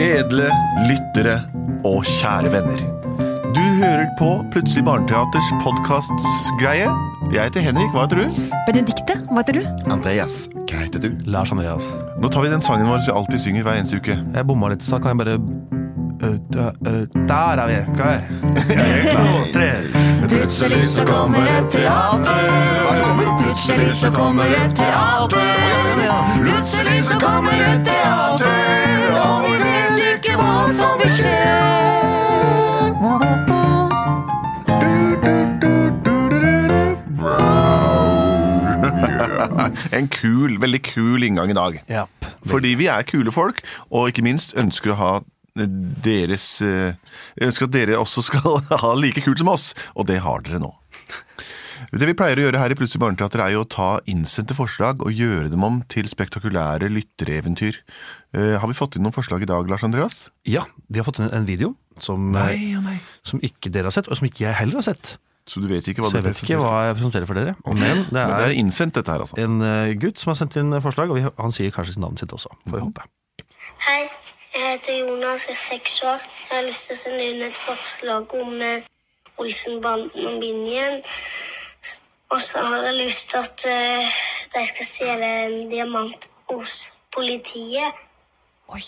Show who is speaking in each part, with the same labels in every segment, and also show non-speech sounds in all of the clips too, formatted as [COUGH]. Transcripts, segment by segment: Speaker 1: Edle lyttere og kjære venner. Du hører på Plutselig barneteaters podkastgreie. Jeg heter Henrik, hva heter du?
Speaker 2: Benedikte, hva heter du?
Speaker 3: Andreas, hva heter du?
Speaker 4: Lars Andreas.
Speaker 1: Nå tar vi den sangen vår som vi alltid synger hver eneste uke.
Speaker 4: Jeg bomma litt, så da kan jeg bare Ø, da, ø, Der er vi! [LAUGHS] Klar.
Speaker 3: Plutselig så kommer et teater. Plutselig så kommer et teater. Plutselig så kommer et teater. Og vi vet ikke hva som vil skje.
Speaker 1: En kul, veldig kul inngang i dag.
Speaker 4: Japp.
Speaker 1: Fordi vi er kule folk, og ikke minst ønsker å ha eh, deres eh, ønsker at dere også [LAUGHS] skal ha like kult som oss, og det har dere nå. Det vi pleier å gjøre her i Plutselig barneteater, er jo å ta innsendte forslag og gjøre dem om til spektakulære lyttereventyr. Eh, har vi fått inn noen forslag i dag, Lars Andreas?
Speaker 4: Ja, de har fått en, en video som, eh,
Speaker 1: og nei.
Speaker 4: som ikke dere har sett, og som ikke jeg heller har sett.
Speaker 1: Så du vet ikke hva
Speaker 4: Så
Speaker 1: det
Speaker 4: jeg vet ikke hva jeg presenterer for dere. Men det
Speaker 1: Men det
Speaker 4: er
Speaker 1: er innsendt, dette her, altså.
Speaker 4: en eh, gutt som har sendt inn forslag, og vi, han sier kanskje sitt navn sitt også. Får vi håpe.
Speaker 5: Hei, jeg heter Jonas, jeg er seks år. Jeg har lyst til å sende inn et forslag om eh, Olsenbanden og Binjen. S- Og så har jeg lyst til at eh, de skal stjele en diamant hos politiet.
Speaker 2: Oi.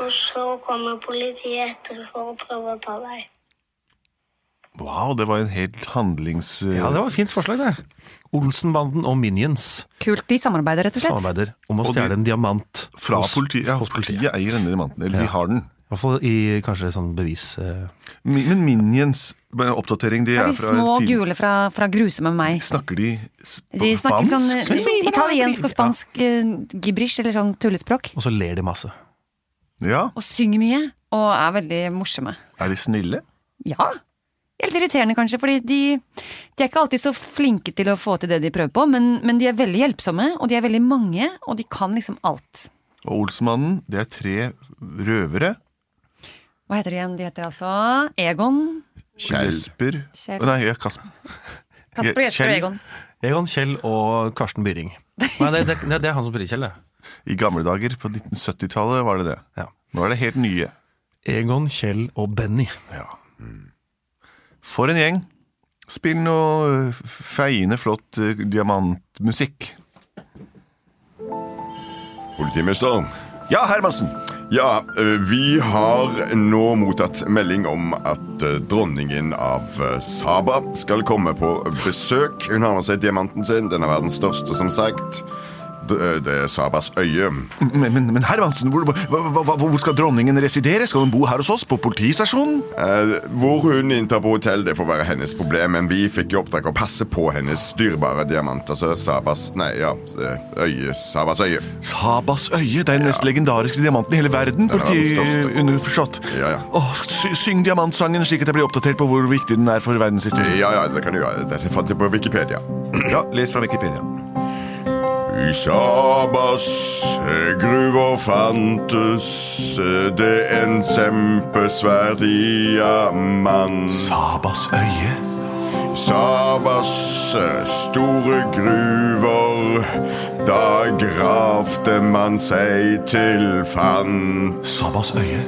Speaker 5: Og så kommer politiet etter for å prøve å ta deg.
Speaker 1: Wow, det var en helt handlings... eh,
Speaker 4: Ja, det var et fint forslag, det. Olsenbanden og Minions
Speaker 2: Kult. De samarbeider, rett og slett.
Speaker 4: samarbeider om å
Speaker 1: Og de-
Speaker 4: stjele en diamant.
Speaker 1: Fra
Speaker 4: hos-
Speaker 1: politiet. Ja,
Speaker 4: hos
Speaker 1: politiet eier denne diamanten. Eller de har den.
Speaker 4: I hvert fall i kanskje sånn bevis... eh,
Speaker 1: Mi- Men Minions bare en oppdatering, de
Speaker 2: Det
Speaker 1: er
Speaker 2: er de
Speaker 1: fra
Speaker 2: små
Speaker 1: fire-
Speaker 2: gule fra, fra Gruse med meg.
Speaker 1: Snakker de sp-
Speaker 2: De snakker litt sånn
Speaker 1: spansk?
Speaker 2: eh, italiensk og spansk eh, gibberish, eller sånn tullespråk.
Speaker 4: Og så ler de masse.
Speaker 1: Ja.
Speaker 2: Og synger mye, og er veldig morsomme.
Speaker 1: Er de snille?
Speaker 2: Ja. Helt irriterende, kanskje, fordi de, de er ikke alltid så flinke til å få til det de prøver på, men, men de er veldig hjelpsomme, og de er veldig mange, og de kan liksom alt.
Speaker 1: Og Olsmannen, det er tre røvere.
Speaker 2: Hva heter de igjen? De heter altså Egon,
Speaker 3: Kjell.
Speaker 1: Jesper
Speaker 2: Kjell.
Speaker 1: Å, Nei, ja, Kasper.
Speaker 2: Kasper, Jesper og
Speaker 1: Kjell.
Speaker 2: Egon.
Speaker 4: Egon Kjell og Karsten Byring. Nei, det, det, det er han som spiller Kjell, det.
Speaker 1: I gamle dager, på 1970-tallet, var det det.
Speaker 4: Ja.
Speaker 1: Nå er det helt nye.
Speaker 4: Egon, Kjell og Benny.
Speaker 1: For en gjeng. Spill noe øh, feiende flott øh, diamantmusikk.
Speaker 3: Politimester.
Speaker 1: Ja, Hermansen!
Speaker 3: Ja, eh, vi har nå mottatt melding om at eh, dronningen av eh, Saba skal komme på besøk. Hun har med seg diamanten sin. Den er verdens største, som sagt. D- eh, Det er Sabas øye.
Speaker 1: Men, men, men Hermansen, hvor, hva, hva, hva- hvor skal dronningen residere? Skal hun bo her hos oss, på politistasjonen?
Speaker 3: Eh, Hvor hun inntar på hotell, det får være hennes problem, men vi fikk i oppdrag å passe på hennes dyrebare diamant. Altså Sabas Nei, ja. eh, Øye. Sabas øye.
Speaker 1: Sabas øye, det er den mest legendariske diamanten i hele verden.
Speaker 3: er den største.
Speaker 1: Politiunderforstått.
Speaker 3: Ja, ja.
Speaker 1: Åh, sy syng diamantsangen slik at jeg blir oppdatert på hvor viktig den er for verdenshistorien.
Speaker 3: Ja, ja, det kan du gjøre. Dette fant jeg på Wikipedia.
Speaker 1: Ja, les fra Wikipedia.
Speaker 3: I Sabas gruver fantes det en kjempesvær diamant.
Speaker 1: Sabas øye.
Speaker 3: Sabas store gruver, da gravde man seg til fant.
Speaker 1: Sabas øye.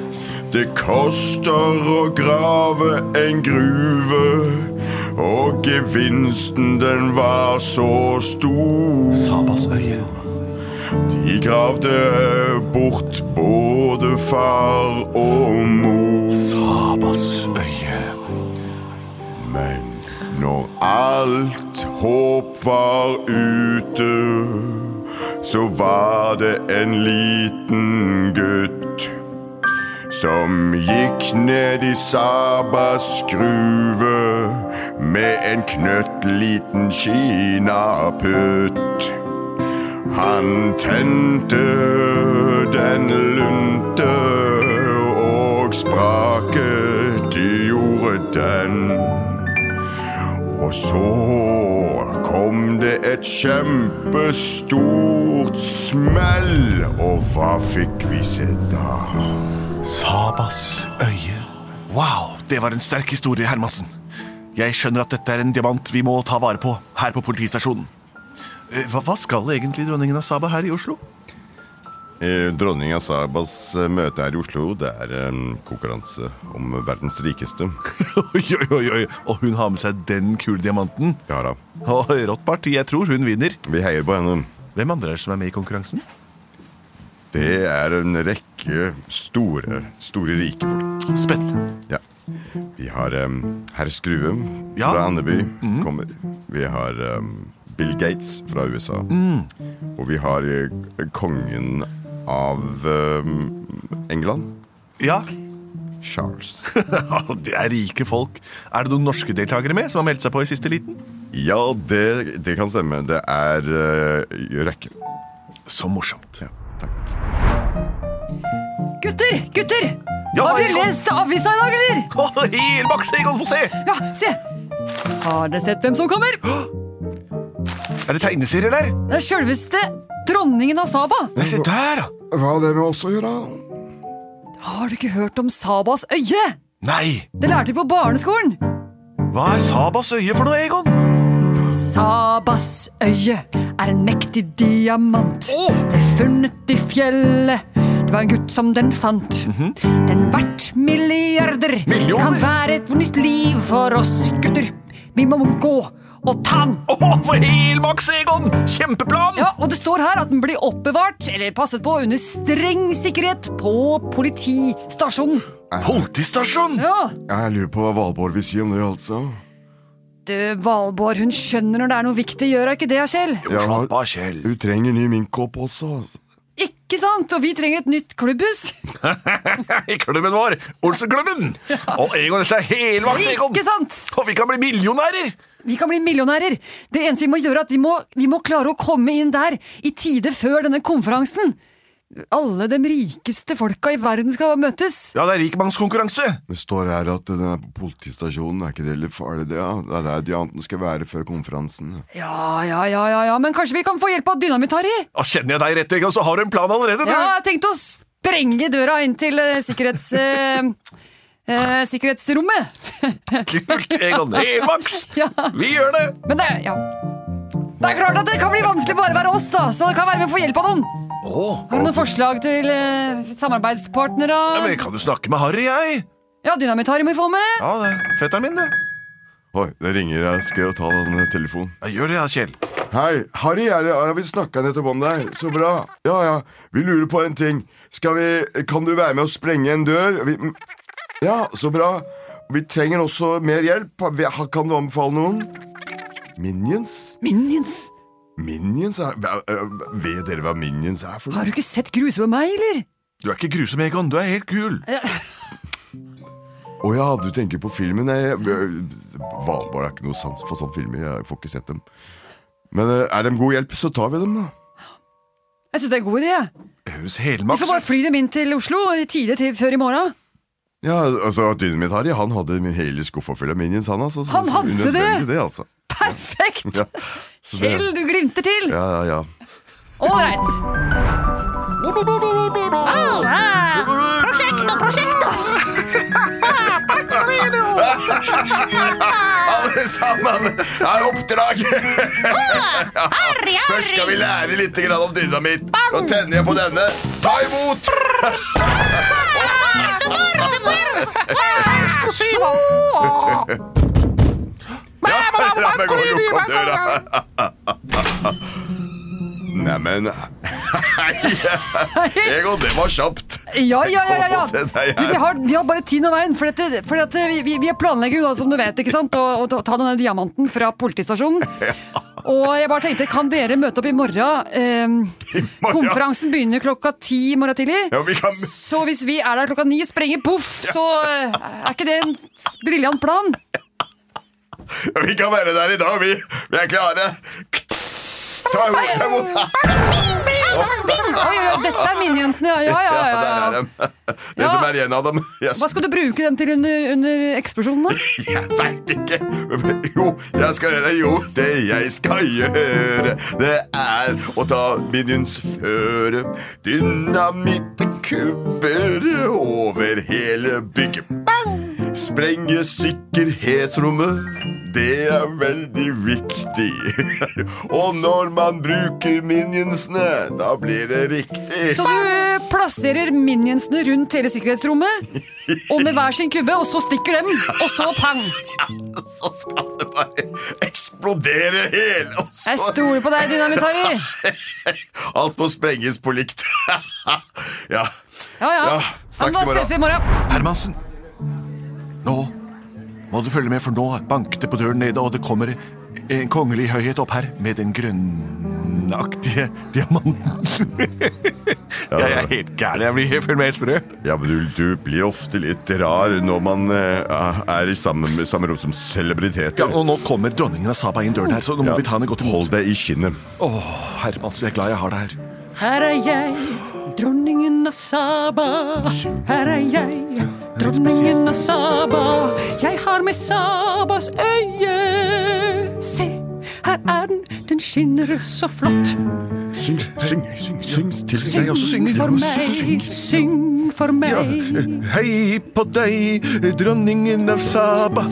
Speaker 3: Det koster å grave en gruve, og gevinsten den var så stor.
Speaker 1: Sabas øye.
Speaker 3: De gravde bort både far og mor.
Speaker 1: Sabas øye.
Speaker 3: Men når alt håp var ute, så var det en liten gutt som gikk ned i Sabas gruve med en knøttliten kinaputt. Han tente den lunte den. Og så kom det et kjempestort smell, og hva fikk vi se da?
Speaker 1: Sabas øye. Wow, det var en sterk historie, Hermansen. Jeg skjønner at dette er en diamant vi må ta vare på her på politistasjonen. Eh, Hva, hva skal egentlig dronningen av Saba her i Oslo? [LAUGHS]
Speaker 3: Eh, Dronning av Sabas eh, møte her i Oslo, det er en konkurranse om verdens rikeste.
Speaker 1: oi, oi, oi, oi, og hun har med seg den kule diamanten.
Speaker 3: Ja da,
Speaker 1: Og rått parti, jeg tror hun vinner.
Speaker 3: vi heier på henne.
Speaker 1: Hvem andre er det som er med i konkurransen?
Speaker 3: Det er en rekke store, store rike folk.
Speaker 1: Spennende.
Speaker 3: Ja. Vi har em, herr Skrue
Speaker 1: Ja.
Speaker 3: fra Andeby kommer. Vi har em, Bill Gates fra USA. Og vi har eh, kongen av em, England,
Speaker 1: Ja, [LAUGHS]
Speaker 3: Charles.
Speaker 1: det er rike folk. Er det noen norske deltakere med som har meldt seg på i siste liten?
Speaker 3: ja, det, det kan stemme. Det er uh, Røkke.
Speaker 1: Så morsomt.
Speaker 3: Ja, takk.
Speaker 2: Gutter! Gutter!
Speaker 1: Ja,
Speaker 2: har dere
Speaker 1: Egon.
Speaker 2: lest avisa i dag, eller?
Speaker 1: Helmaks, Egon, få se!
Speaker 2: Ja, se! Har dere sett hvem som kommer?
Speaker 1: Er det tegneserier der?
Speaker 2: Det er sjølveste dronningen av Saba.
Speaker 1: Nei, se der, da!
Speaker 3: Hva har det med oss å gjøre?
Speaker 2: Har du ikke hørt om Sabas øye?
Speaker 1: Nei!
Speaker 2: Det lærte vi på barneskolen.
Speaker 1: Hva er Sabas øye for noe, Egon?
Speaker 2: Sabas øye er en mektig diamant.
Speaker 1: Åh!
Speaker 2: Ble funnet i fjellet. Det var en gutt som den fant. Den verdt milliarder.
Speaker 1: Millioner?
Speaker 2: Kan være et nytt liv for oss gutter. Vi må gå og ta den.
Speaker 1: Åh, for helmaks, Egon! Kjempeplan!
Speaker 2: Ja, og det står her at den blir oppbevart eller passet på under streng sikkerhet på politistasjonen.
Speaker 1: Politistasjon!
Speaker 2: Ja,
Speaker 3: Jeg lurer på hva Valborg vil si om det, altså.
Speaker 2: Du, Valborg, hun skjønner når det er noe viktig, gjør hun ikke det, Kjell?
Speaker 1: Jo,
Speaker 3: Ja.
Speaker 1: slapp av, Kjell.
Speaker 3: Hun trenger ny minkkopp også.
Speaker 2: Ikke sant? Og vi trenger et nytt klubbhus.
Speaker 1: I [LAUGHS] klubben vår, Olsenklubben! Og Egon, dette er helmaks, Egon!
Speaker 2: Ikke sant?
Speaker 1: Og vi kan bli millionærer!
Speaker 2: Vi kan bli millionærer. Det eneste vi må gjøre, er at vi må, vi må klare å komme inn der i tide før denne konferansen. Alle de rikeste folka i verden skal møtes.
Speaker 1: Ja, det er rikmannskonkurranse.
Speaker 3: Det står her at den er på politistasjonen. Er ikke det litt farlig, det? Ja? Det er der diamanten skal være før konferansen.
Speaker 2: Ja, ja, ja, ja, ja. men kanskje vi kan få hjelp av dynamitt, Harry?
Speaker 1: Ja, kjenner jeg deg rett, Egon, så har du en plan allerede, du!
Speaker 2: Ja, jeg tenkte å sprenge døra inn til eh, sikkerhets... eh, eh, sikkerhetsrommet.
Speaker 1: Kult, Egon. Helmaks!
Speaker 2: [LAUGHS] Ja.
Speaker 1: Vi gjør det!
Speaker 2: Men det, ja. det er klart at det kan bli vanskelig bare å være oss, da. Så det kan være vi får hjelp av noen.
Speaker 1: Åh,
Speaker 2: Har du noen forslag til eh, samarbeidspartnere?
Speaker 1: ja, men jeg kan jo snakke med Harry, jeg.
Speaker 2: Ja, dynamitt, Harry må vi få med.
Speaker 1: Ja, det er fetteren min, det.
Speaker 3: Oi, det ringer jeg. Skal jeg ta den eh, telefonen?
Speaker 1: Ja, gjør det, ja, Kjell.
Speaker 3: Hei, Harry er det. Ja, vi snakka nettopp om deg. Så bra. Ja, ja. Vi lurer på en ting. Skal vi Kan du være med å sprenge en dør? Vi, mm. ja, så bra. Vi trenger også mer hjelp. Vi- ha- Kan du anbefale noen? Minions?
Speaker 2: Minions.
Speaker 3: Minions er hva- øh, Vet dere hva minions er for noe?
Speaker 2: Har du ikke sett grusomme meg, eller?
Speaker 1: Du er ikke grusom, Egon. Du er helt kul.
Speaker 3: Å ja, du tenker på filmen? Jeg, Valborg har ikke noe sans for sånne filmer. Jeg får ikke sett dem. Men eh, er de god hjelp, så tar vi dem, da.
Speaker 2: Jeg synes det er en god idé. jeg.
Speaker 1: Høres
Speaker 2: Vi
Speaker 1: helmaks
Speaker 2: får bare
Speaker 1: ut.
Speaker 2: fly dem inn til Oslo i tide til før i morgen.
Speaker 3: Ja, altså, Dynamitt Harry han hadde min hele skuffa full av minions, han altså. så-
Speaker 2: Han
Speaker 3: så
Speaker 2: hadde det?
Speaker 3: unødvendig det altså.
Speaker 2: Perfekt!
Speaker 3: Ja. Så det-
Speaker 2: Kjell, du glimter til!
Speaker 3: Ja, ja, ja.
Speaker 2: Ålreit.
Speaker 6: Prosjekter, prosjekter!
Speaker 3: Alle sammen er oppdrag!
Speaker 6: Harry,
Speaker 3: Først skal vi
Speaker 6: Harry!
Speaker 3: lære litt grann om dynamitt. Nå tenner jeg på denne. Ta imot! Ja, la meg gå og lukke opp døra. Neimen Egon, det var kjapt.
Speaker 2: Ja, ja, ja, ja, ja.
Speaker 3: Å, se deg her.
Speaker 2: Du, vi, har, vi har bare tiden og veien, for, dette, for at vi, vi- vi planlegger jo, da, som du vet, ikke sant, å, å ta- ta denne diamanten fra politistasjonen. Og jeg bare tenkte, kan dere møte opp i morgen? Ehm, konferansen begynner klokka ti i morgen tidlig.
Speaker 3: Ja, vi kan
Speaker 2: Så hvis vi er der klokka ni og sprenger poff, så eh, er ikke det en briljant plan?
Speaker 3: Vi kan være der i dag, vi. Vi er klare. Ta imot, ta imot. Å,
Speaker 2: Bing! Oi, oi, oi, dette er Minionsene, ja. ja, ja,
Speaker 3: Ja,
Speaker 2: ja,
Speaker 3: der er
Speaker 2: ja.
Speaker 3: dem. Det som er igjen av dem. Jeg
Speaker 2: Hva skal du bruke dem til under, under eksplosjonen, da?
Speaker 3: Jeg veit ikke. Jo, jeg skal gjøre Jo, det jeg skal gjøre, det er å ta minions føre dynamittkubber over hele bygget. Sprenge sikkerhetsrommet. Det er veldig viktig. Og når man bruker minionsene, da blir det riktig.
Speaker 2: Så du eh, plasserer minionsene rundt hele sikkerhetsrommet, og med hver sin kubbe, og så stikker dem, og så pang!
Speaker 3: Så skal det bare eksplodere hele. og så-
Speaker 2: Jeg stoler på deg, Dynamitari.
Speaker 3: Alt må sprenges på likt. [LAUGHS] ja.
Speaker 2: Ja, ja.
Speaker 3: Ja,
Speaker 2: Men
Speaker 3: snakkes
Speaker 2: da
Speaker 3: i morgen.
Speaker 2: ses vi i morgen.
Speaker 1: Hermansen! Nå må du følge med, for nå banket det på døren nede, og det kommer en kongelig høyhet opp her med den grønnaktige diamanten. [LAUGHS] jeg er helt gæren. Jeg blir helt føler meg helt sprø.
Speaker 3: Ja, men du, du blir ofte litt rar når man eh, er i samme, samme rom som
Speaker 1: Ja,
Speaker 3: celebriteter.
Speaker 1: og nå kommer dronningen av Saba inn døren her, så nå må
Speaker 3: Ja.
Speaker 1: vi ta henne godt
Speaker 3: Hold
Speaker 1: imot.
Speaker 3: deg i kinnet.
Speaker 1: Å, Hermansen, jeg er glad jeg har deg her.
Speaker 2: Her er jeg, dronningen av Saba. Her er jeg, dronningen av Saba. Jeg har med Sabas øye. Se, her er den. Den skinner så flott.
Speaker 3: Syng, syng, syng, syng til
Speaker 1: Syng jeg også synger.
Speaker 2: For meg, syng for meg.
Speaker 1: [LAUGHS] Hei på deg, dronningen av Saba.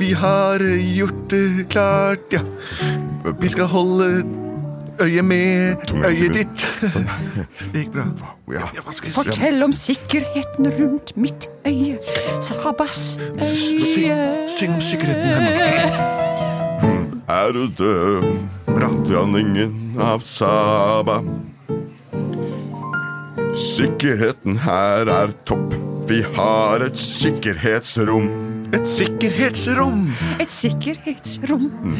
Speaker 1: Vi har gjort det klart, ja. Vi skal holde øye med
Speaker 3: Tunga i
Speaker 1: øyet
Speaker 3: munnen.
Speaker 1: ditt. [LAUGHS] Det gikk bra.
Speaker 3: Ja.
Speaker 1: Sånn, Ja, hva skal jeg si?
Speaker 2: Fortell om sikkerheten rundt mitt øye. Sabas
Speaker 1: Syng,
Speaker 2: øye.
Speaker 1: syng om sikkerheten, Hermansen.
Speaker 3: Ærede dronningen av Saba. Sikkerheten her er topp. Vi har et sikkerhetsrom.
Speaker 1: Et sikkerhetsrom.
Speaker 2: Et sikkerhetsrom.
Speaker 1: Mm.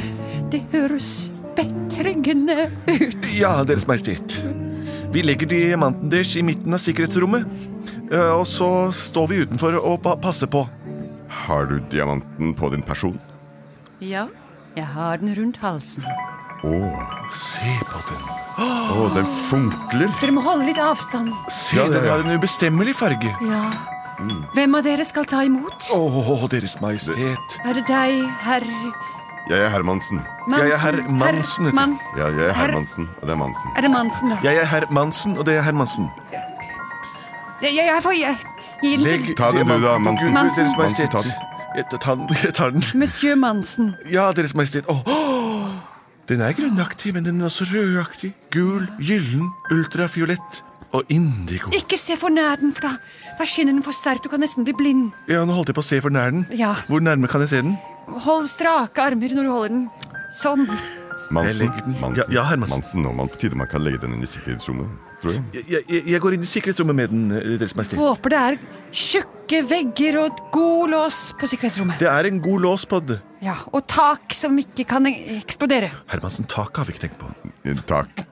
Speaker 2: Det høres betryggende ut.
Speaker 1: Ja, Deres Majestet. Vi legger diamanten deres i midten av sikkerhetsrommet. eh, Og så står vi utenfor og pa- passer på.
Speaker 3: Har du diamanten på din person?
Speaker 2: Ja, jeg har den rundt halsen.
Speaker 3: Å,
Speaker 1: Se på den.
Speaker 3: å, den funkler.
Speaker 2: Dere må holde litt avstand.
Speaker 1: Se,
Speaker 3: Ja, ja,
Speaker 1: den
Speaker 3: ja.
Speaker 1: har en ubestemmelig farge.
Speaker 2: Ja. Hvem av dere skal ta imot?
Speaker 1: Mm. Å, Deres Majestet.
Speaker 2: Er det deg, herr
Speaker 3: Jeg er Hermansen.
Speaker 2: Mansen?
Speaker 1: Jeg er herr Mansen, heter jeg.
Speaker 2: Mann.
Speaker 3: Ja, jeg er
Speaker 2: Her-
Speaker 3: Hermansen, og det er Mansen.
Speaker 2: Er det Mansen, da?
Speaker 1: Jeg er herr Mansen, og det er Hermansen.
Speaker 2: Jeg, jeg, jeg får jeg, gi den til
Speaker 3: Ta den du, da, Mansen.
Speaker 1: Gud,
Speaker 2: Mansen.
Speaker 1: Deres Majestet.
Speaker 3: Mansen,
Speaker 1: Jeg tar den. [LAUGHS] Jeg tar den.
Speaker 2: Monsieur Mansen.
Speaker 1: Ja, Deres Majestet. Åh, åh. Den er grønnaktig, men den er også rødaktig. Gul, gyllen, ultrafiolett og indigo.
Speaker 2: Ikke se for nær den, for da, da skinner den for sterkt. Du kan nesten bli blind.
Speaker 1: Ja, nå holdt jeg på å se for nær den.
Speaker 2: Ja.
Speaker 1: Hvor nærme kan jeg se den?
Speaker 2: Hold strake armer når du holder den. Sånn.
Speaker 1: Jeg
Speaker 3: Mansen.
Speaker 1: legger den.
Speaker 3: Mansen.
Speaker 1: Ja, ja, Hermansen.
Speaker 3: Nå man, på tide man kan legge den inn i sikkerhetsrommet, tror jeg.
Speaker 1: Jeg, jeg, jeg går inn i sikkerhetsrommet med den, eh, Deres Majestet.
Speaker 2: Håper det er tjukke vegger og et god lås på sikkerhetsrommet.
Speaker 1: Det er en god lås på det.
Speaker 2: Ja, Og tak som ikke kan eksplodere.
Speaker 1: Hermansen, taket har vi ikke tenkt på.
Speaker 3: Eh,
Speaker 1: [LAUGHS]
Speaker 3: Takk.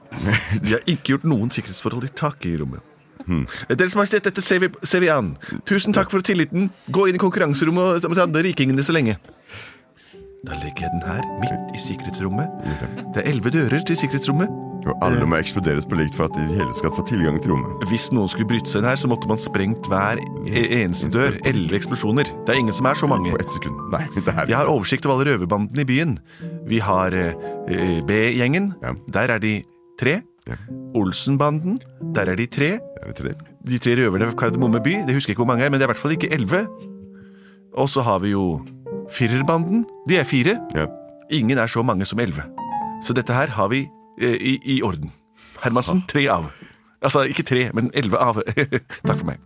Speaker 1: De har ikke gjort noen sikkerhetsforhold i taket i rommet. Hmm. Deres Majestet, dette ser vi, ser vi an. Tusen takk for tilliten. Gå inn i konkurranserommet og ta de rikingene så lenge. Da legger jeg den her, midt i sikkerhetsrommet. Det er elleve dører til sikkerhetsrommet.
Speaker 3: Og alle må eksploderes på likt for at de i det hele skal få tilgang til rommet.
Speaker 1: Hvis noen skulle bryte seg inn her, så måtte man sprengt hver e- eneste dør. Elleve eksplosjoner. Det er ingen som er så mange.
Speaker 3: På ett sekund. Nei, [LAUGHS] det er
Speaker 1: Jeg har oversikt over alle røverbandene i byen. Vi har eh, eh, B-gjengen.
Speaker 3: Ja.
Speaker 1: Der er de tre.
Speaker 3: Ja.
Speaker 1: Olsenbanden. Der er de tre.
Speaker 3: Er det tre?
Speaker 1: De tre røverne fra Kardemomme by, det husker jeg ikke hvor mange er, men det er i hvert fall ikke elleve. Og så har vi jo Firerbanden. De er fire.
Speaker 3: Ja.
Speaker 1: Ingen er så mange som elleve. Så dette her har vi eh, i, i orden. Hermansen, tre av. Altså ikke tre, men elleve av. [LAUGHS] Takk for meg.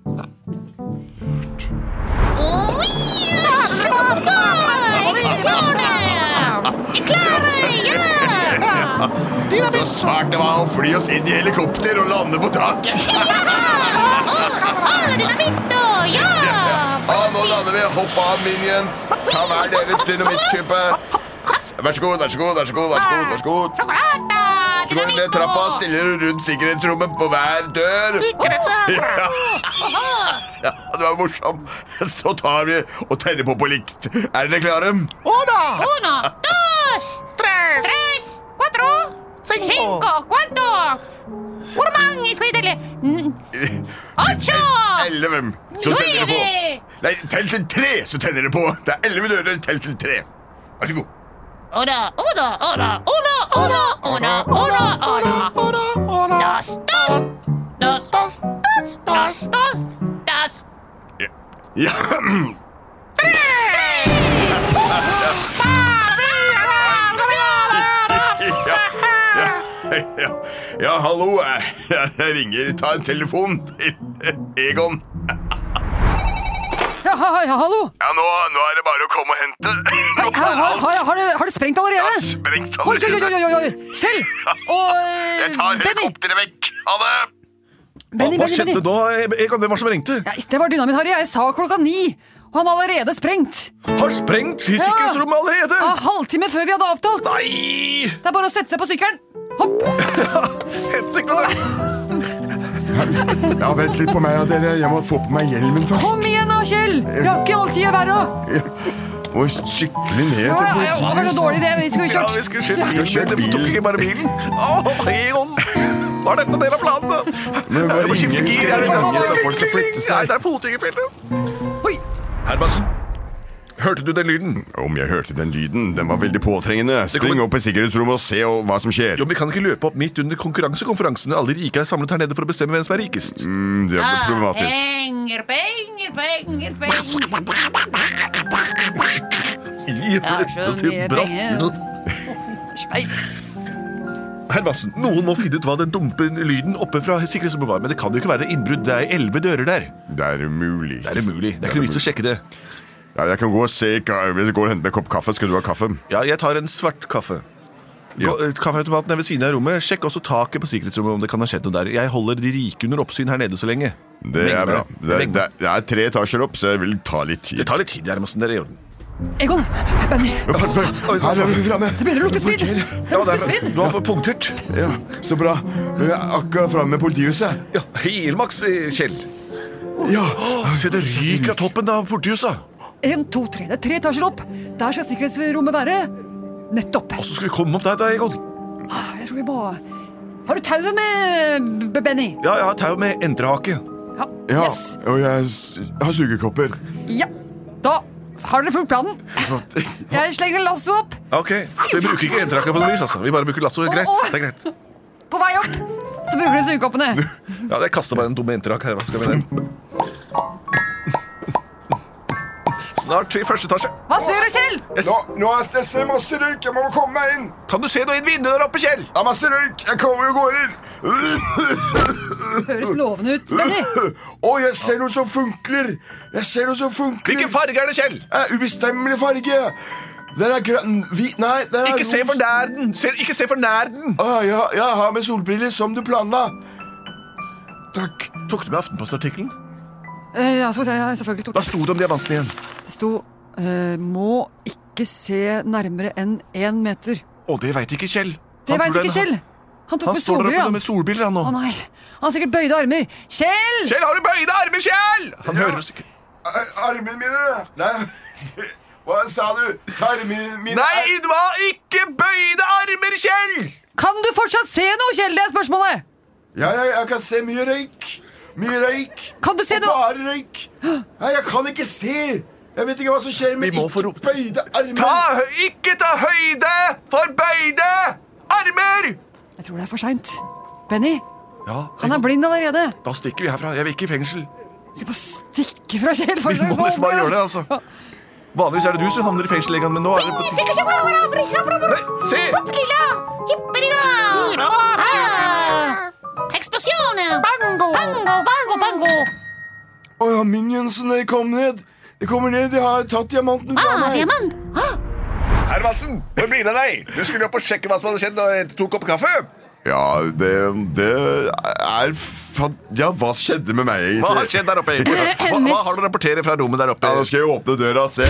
Speaker 3: Så smart det var å fly oss inn i helikopter og lande på taket! Ja, nå lander vi. Hopp av, minions. Ta hver deres dynamittkubbe. Vær så god, vær så god, vær så god. vær så god, vær så god. Så går du ned trappa, stiller du rundt sikkerhetsrommet på hver dør. [LAUGHS] Ja. ja, det var morsom. Så tar vi og tenner på på likt. Er dere klare?
Speaker 6: Uno, dos, tres, cuatro, cinco, ¿cuánto? Hvor mange skal vi telle? N- Ocho!
Speaker 3: Elleve, så tenner det på.
Speaker 6: Nueve!
Speaker 3: Nei, tell til tre, så tenner det på. Det er elleve dører, tell til tre. Vær så god.
Speaker 6: Oda, oda, oda, oda, oda, oda, oda, oda. Das, das, das, das, das, das, das.
Speaker 3: Ja. ja. [LAUGHS] Ja, ja, ja. ja, hallo. jeg- Jeg ringer. Ta en telefon til Egon.
Speaker 2: Ja, ha, ha, hallo!
Speaker 3: Ja, nå, nå er det bare å komme og hente.
Speaker 2: Hei, ha, ha, har, har, det, har det sprengt allerede?
Speaker 3: Sprengt
Speaker 2: Oi, oi,
Speaker 3: allerede.
Speaker 2: oi, oi, oi! Kjell og eh,
Speaker 3: Jeg
Speaker 2: Benny.
Speaker 3: tar helikopteret vekk. Ha det.
Speaker 2: Benny,
Speaker 1: Hva
Speaker 2: Benny,
Speaker 1: skjedde
Speaker 2: Benny.
Speaker 1: da? Egon, hvem var det som ringte?
Speaker 2: Ja, det var dynamitt, Harry. Jeg sa klokka ni. Og han har allerede sprengt.
Speaker 1: Har sprengt i sikkerhetsrommet allerede!
Speaker 2: Ja, Ah. halvtime før vi hadde avtalt.
Speaker 1: Nei!
Speaker 2: Det er bare å sette seg på sykkelen. Hopp!
Speaker 1: Hensikten
Speaker 3: Ja, Vent litt på meg, ja, dere. Jeg må få på meg hjelmen først.
Speaker 2: Kom igjen da, Kjell! Vi har ikke all tid i verden.
Speaker 3: Og sykle ned
Speaker 2: Ja,
Speaker 3: til
Speaker 2: ja, ja, det var så dårlig det. Vi skulle jo
Speaker 1: Ja,
Speaker 2: kjørt.
Speaker 1: vi skulle kjørt
Speaker 3: Vi skulle
Speaker 1: bilen.
Speaker 3: kjørt
Speaker 1: Dere tok ikke bare bilen. Åh, Egon! Var dette del av planen? da?
Speaker 3: Men hva
Speaker 1: Jeg må skifte
Speaker 3: ringer-
Speaker 1: gir. jeg
Speaker 3: ringer
Speaker 1: vil-
Speaker 3: så folk skal flytte seg.
Speaker 1: Nei, det er fotgjengerfeltet.
Speaker 2: Oi,
Speaker 1: Hermansen, hørte du den lyden?
Speaker 3: Om jeg hørte den lyden, den var veldig påtrengende. Spring
Speaker 1: kommer-
Speaker 3: opp i sikkerhetsrommet og se og- hva som skjer.
Speaker 1: Jo, men Vi kan ikke løpe opp midt under konkurransekonferansen. Alle de rike er samlet her nede for å bestemme hvem som er rikest.
Speaker 3: Mm, Det var
Speaker 2: Eh.
Speaker 3: problematisk.
Speaker 6: Penger, penger, penger, penger.
Speaker 1: I
Speaker 2: så
Speaker 1: flette til
Speaker 2: mye
Speaker 1: Brasil. Hermansen, noen må finne ut hva den dumpe lyden oppe fra sikkerhetsrommet var. Men det kan jo ikke være innbrudd. Det er elleve dører der.
Speaker 3: Det er umulig.
Speaker 1: Det er umulig. Det er ikke noe vits å sjekke det.
Speaker 3: Ja, jeg kan gå og se ka- Hvis jeg går og henter meg en kopp kaffe, skal du ha kaffe?
Speaker 1: Ja, jeg tar en svart kaffe.
Speaker 3: Ja.
Speaker 1: Gå- eh, Kaffeautomaten er ved siden av rommet. Sjekk også taket på sikkerhetsrommet om det kan ha skjedd noe der. Jeg holder de rike under oppsyn her nede så lenge.
Speaker 3: Det er
Speaker 1: Lenge
Speaker 3: bra.
Speaker 1: med
Speaker 3: Det er,
Speaker 1: Lenge.
Speaker 3: det er, det er tre etasjer opp, så jeg vil ta litt tid.
Speaker 1: Det tar litt tid, Hermansen. Dere er i orden.
Speaker 2: Egon, Benny, det
Speaker 3: [LAUGHS]
Speaker 1: Oi, så-
Speaker 2: begynner å lukte svidd. Det
Speaker 1: Ja, det
Speaker 2: lukter
Speaker 1: er-
Speaker 2: svidd.
Speaker 1: Du har fått punktert.
Speaker 3: Ja, så bra. Vi er akkurat framme ved politihuset.
Speaker 1: Ja, Helmaks, eh, Kjell.
Speaker 3: Ja.
Speaker 1: Å, Se, det ryker av toppen av porthuset.
Speaker 2: En, to, tre. Det er tre etasjer opp. Der skal sikkerhetsrommet være. Nettopp.
Speaker 1: Og så skal vi komme opp der, da, Egon.
Speaker 2: Ah, Jeg tror vi må Har du tauet med B- Benny?
Speaker 1: Ja, jeg har tau med entrehake.
Speaker 2: Ja.
Speaker 3: ja.
Speaker 2: Yes.
Speaker 3: Og jeg s- har sugekopper.
Speaker 2: Ja. Da har dere fulgt planen.
Speaker 1: [LAUGHS]
Speaker 2: Jeg slenger lassoet opp.
Speaker 1: Ja, Ok, Så vi bruker ikke entrehake på noe vis, altså. Vi bare bruker lasso. Greit. Det er greit.
Speaker 2: På vei opp så bruker du sugekoppene.
Speaker 1: Ja, jeg kasta bare en dumme enterhake her. Hva skal vi med den? Snart i første etasje.
Speaker 2: Hva ser du, Kjell?
Speaker 1: Jeg
Speaker 3: Nå, nå jeg ser masse røyk, jeg må komme meg inn.
Speaker 1: Kan du se noe i et vindu der oppe, Kjell?
Speaker 3: Det er masse røyk, jeg kommer og går inn.
Speaker 2: Høres lovende ut, Benny.
Speaker 3: Å, jeg ser noe som funkler. Jeg ser noe som funkler.
Speaker 1: Hvilken farge er det, Kjell?
Speaker 3: Eh, ubestemmelig farge. Den er grønn, hvit, nei, den er
Speaker 1: Ikke se
Speaker 3: ros-
Speaker 1: for nær den! Se, ikke se for nær den!
Speaker 3: Å, ja, jeg har med solbriller som du planla. Takk.
Speaker 1: Ah, Tok du med Aftenposten-artikkelen?
Speaker 2: Eh, Ja, skal vi se. Ja, Selvfølgelig tok
Speaker 1: Da sto det om diamanten igjen.
Speaker 2: Det sto eh, 'må ikke se nærmere enn én meter'.
Speaker 1: Å, det veit ikke Kjell.
Speaker 2: Det
Speaker 1: Han
Speaker 2: veit
Speaker 1: tror
Speaker 2: ikke
Speaker 1: er-
Speaker 2: Kjell. Han tok
Speaker 1: Han
Speaker 2: med
Speaker 1: står der
Speaker 2: solbriller.
Speaker 1: oppe
Speaker 2: han.
Speaker 1: med solbriller, han nå.
Speaker 2: Å nei, han har sikkert bøyde armer. Kjell!
Speaker 1: Kjell, har du bøyde armer, Kjell? Han
Speaker 3: Ja.
Speaker 1: hører oss ikke.
Speaker 3: Ar- Armene mine. Nei, hva sa du? Tarmene mine.
Speaker 1: Nei, det var ikke bøyde armer, Kjell!
Speaker 2: Kan du fortsatt se noe, Kjell? Det er spørsmålet.
Speaker 3: Ja, ja, jeg kan se mye røyk. Mye røyk.
Speaker 2: Kan du se
Speaker 3: Og
Speaker 2: noe?
Speaker 3: Bare røyk. Nei, jeg kan ikke se. Jeg vet ikke hva som skjer med
Speaker 1: Vi må få
Speaker 3: ikke
Speaker 1: rop-
Speaker 3: bøyde armer.
Speaker 1: Ta, hø- ikke ta høyde for bøyde armer!
Speaker 2: Jeg tror det er for seint. Benny,
Speaker 1: Ja,
Speaker 2: han er blind allerede.
Speaker 1: Da stikker vi herfra. Jeg vil ikke i fengsel.
Speaker 2: Skal vi bare stikke fra Kjell? for
Speaker 1: Vi må
Speaker 2: det er så
Speaker 1: nesten bare
Speaker 2: åpent.
Speaker 1: gjøre det, altså. Vanligvis er det du som havner i fengsel, Egan, men nå er det på
Speaker 6: Sikkert så bra, bra, bra, bra, bra, bra.
Speaker 1: Nei, se!
Speaker 6: Lilla, hippelilla! Ah, eksplosjoner! Bango! Bango, bango, bango!
Speaker 3: Å ja, minionsen, de kom ned. De kommer ned, de har tatt diamanten fra
Speaker 6: Ah,
Speaker 3: meg.
Speaker 6: diamant! Ah,
Speaker 1: Hermansen, hvor blir det av deg? Du skulle jo opp og sjekke hva som hadde skjedd og hente to kopper kaffe.
Speaker 3: Ja, det, det er fan... Ja, hva skjedde med meg, egentlig?
Speaker 1: Hva har skjedd der oppe? egentlig?
Speaker 2: Eh,
Speaker 1: Hva, hva har du å rapportere fra rommet der oppe?
Speaker 3: Ja, Nå skal jeg åpne døra og se.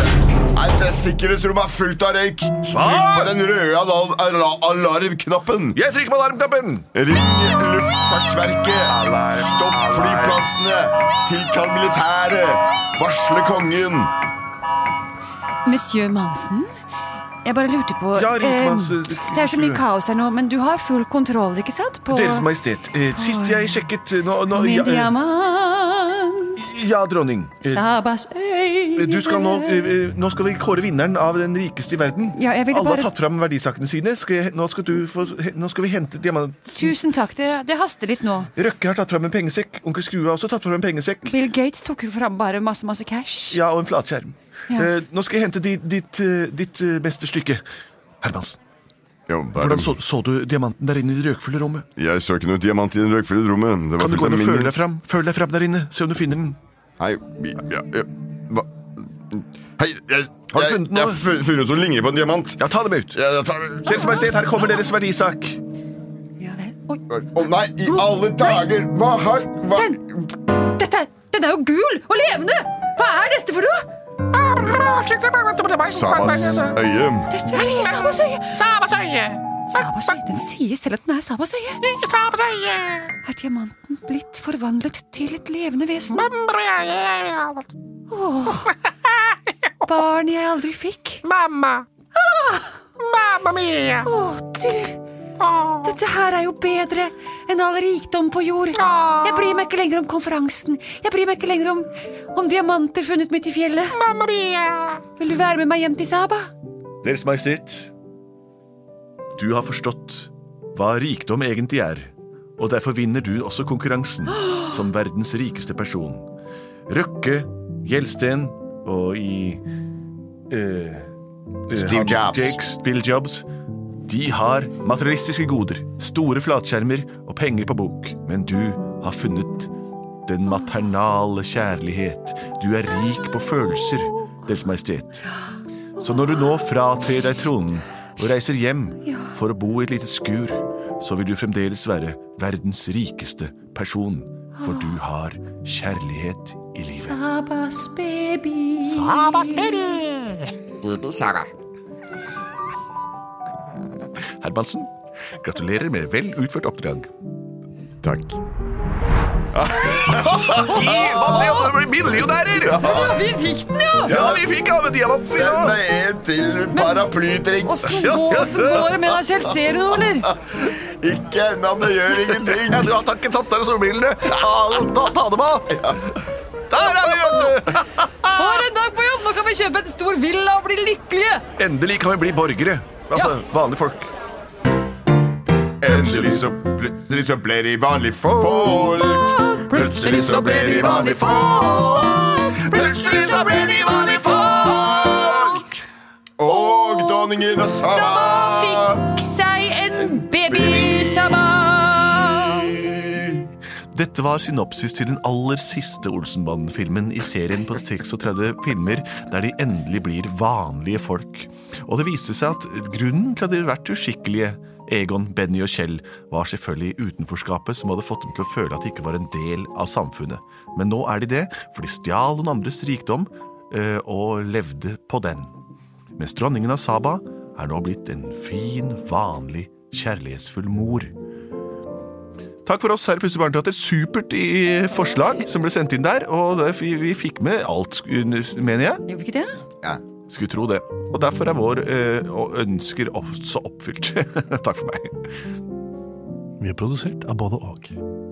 Speaker 3: Nei, det Sikkerhetsrommet er fullt av røyk. Trykk på den røde al- al- alarmknappen.
Speaker 1: Jeg trykker på alarmknappen.
Speaker 3: Ring Luftfartsverket. Stopp flyplassene. Tilkall militæret. Varsle kongen.
Speaker 2: Monsieur Mansen, Jeg bare lurte på
Speaker 7: Ja, rikmanns-
Speaker 2: eh, Det er så mye kaos her nå, men du har full kontroll, ikke sant? På
Speaker 7: Deres Majestet, eh, sist jeg sjekket eh, nå, nå,
Speaker 2: min
Speaker 7: ja, eh,
Speaker 2: diamant
Speaker 7: ja, dronning. Eh,
Speaker 2: Sabas øy
Speaker 7: Du skal nå, eh, eh, nå skal vi kåre vinneren av den rikeste i verden.
Speaker 2: Ja, jeg ville
Speaker 7: Alle
Speaker 2: bare-
Speaker 7: har tatt fram verdisakene sine. Skal jeg, nå, skal du få, nå skal vi hente diamant...
Speaker 2: Tusen takk, det, det haster litt nå.
Speaker 7: Røkke har tatt fram en pengesekk. Onkel Skrue har også tatt fram en pengesekk.
Speaker 2: Bill Gates tok jo fram bare masse, masse cash.
Speaker 7: Ja, og en flatskjerm.
Speaker 2: Ja.
Speaker 7: Eh, nå skal jeg hente di, ditt, eh, ditt eh, beste stykke. Hermansen,
Speaker 3: Jo, bare-
Speaker 7: hvordan så, så du diamanten der inne i det røkfulle rommet?
Speaker 3: Jeg så ikke noe diamant i det røykfulle rommet. Det var
Speaker 7: Kan du
Speaker 3: fullt
Speaker 7: gå
Speaker 3: av
Speaker 7: inn og føle deg
Speaker 3: minions.
Speaker 7: fram? Føl deg fram der inne. Se om du finner den.
Speaker 3: Hei, ja, ja, hva? Hei, jeg,
Speaker 7: Har du
Speaker 3: jeg,
Speaker 7: funnet noe?
Speaker 3: Jeg har fu- funnet noe som ligner på en diamant.
Speaker 7: Ja, ta dem ut.
Speaker 3: Jeg, jeg tar det.
Speaker 7: Deres Majestet, her kommer deres verdisak.
Speaker 2: Ja vel. Oi,
Speaker 3: Å nei, i alle dager! Hva har hva?
Speaker 2: den! Dette, den er jo gul og levende! Hva er dette for noe?
Speaker 3: Sabas øye.
Speaker 2: Dette er ikke Sabas øye.
Speaker 1: Sabas øye!
Speaker 2: Sabas øye. Den sier selv at den er Sabas øye.
Speaker 1: Sabas øye!
Speaker 2: Er diamanten blitt forvandlet til et levende vesen? Åh. Barn jeg aldri fikk.
Speaker 1: Mamma! Ah, Mamma mia!
Speaker 2: Åh, du. Dette her er jo bedre enn all rikdom på jord.
Speaker 1: Åh.
Speaker 2: Jeg bryr meg ikke lenger om konferansen. Jeg bryr meg ikke lenger om, om diamanter funnet midt i fjellet.
Speaker 1: Mamma mia!
Speaker 2: Vil du være med meg hjem til Saba?
Speaker 7: Deres Majestet, du har forstått hva rikdom egentlig er, og derfor vinner du også konkurransen som verdens rikeste person. Røkke, Gjelsten og i eh, eh,
Speaker 3: Steve
Speaker 7: han-
Speaker 3: Jobs.
Speaker 7: Jakes, Bill Jobs. De har materialistiske goder, store flatskjermer og penger på bok. Men du har funnet den maternale kjærlighet. Du er rik på følelser, Deres Majestet. Så når du nå fratrer deg tronen og reiser hjem for å bo i et lite skur, så vil du fremdeles være verdens rikeste person, for du har kjærlighet i
Speaker 2: Sånn.
Speaker 7: livet.
Speaker 2: Sabas baby.
Speaker 1: Sabas baby!
Speaker 7: Hermansen, gratulerer med vel utført oppdrag.
Speaker 3: Takk.
Speaker 7: Se om dere blir millionærer!
Speaker 2: Vi fikk den, ja!
Speaker 7: Ja, vi fikk av en diamant! vi
Speaker 3: Send
Speaker 7: da!
Speaker 3: meg en til paraplytrikk.
Speaker 2: Åssen går, åssen går det med deg selv? Ser du noe, eller?
Speaker 3: Ikke ennå, det gjør ingenting.
Speaker 7: Ja, du har ikke tatt av deg solbrillene! Ta, ta, ta dem av! Der er vi, vet du!
Speaker 2: For en dag på jobb! Nå kan vi kjøpe en stor villa og bli lykkelige!
Speaker 7: Endelig kan vi bli borgere. Altså, vanlige folk.
Speaker 3: Endelig så plutselig så ble de vanlige folk. Plutselig så ble de vanlige folk. Plutselig så ble de vanlige folk. Og dronningen og Saba.
Speaker 2: Fikk seg en baby, Saba!
Speaker 7: Dette var synopsis til den aller siste Olsenbanden-filmen i serien på 36 filmer der de endelig blir vanlige folk. Og det viste seg at grunnen til at de hadde vært uskikkelige, Egon, Benny og Kjell, var selvfølgelig utenforskapet som hadde fått dem til å føle at de ikke var en del av samfunnet. Men nå er de det, for de stjal noen andres rikdom eh, og levde på den. Mens dronningen av Saba er nå blitt en fin, vanlig, kjærlighetsfull mor. Takk for oss her i Plutselig barneteater. Supert i forslag som ble sendt inn der. Og det, vi, vi fikk med alt, sku- mener jeg.
Speaker 2: Gjorde vi ikke det?
Speaker 7: Skulle tro det. Og derfor er vår eh, og ønsker også oppfylt. [LAUGHS] Takk for meg.
Speaker 4: Vi er produsert av både og.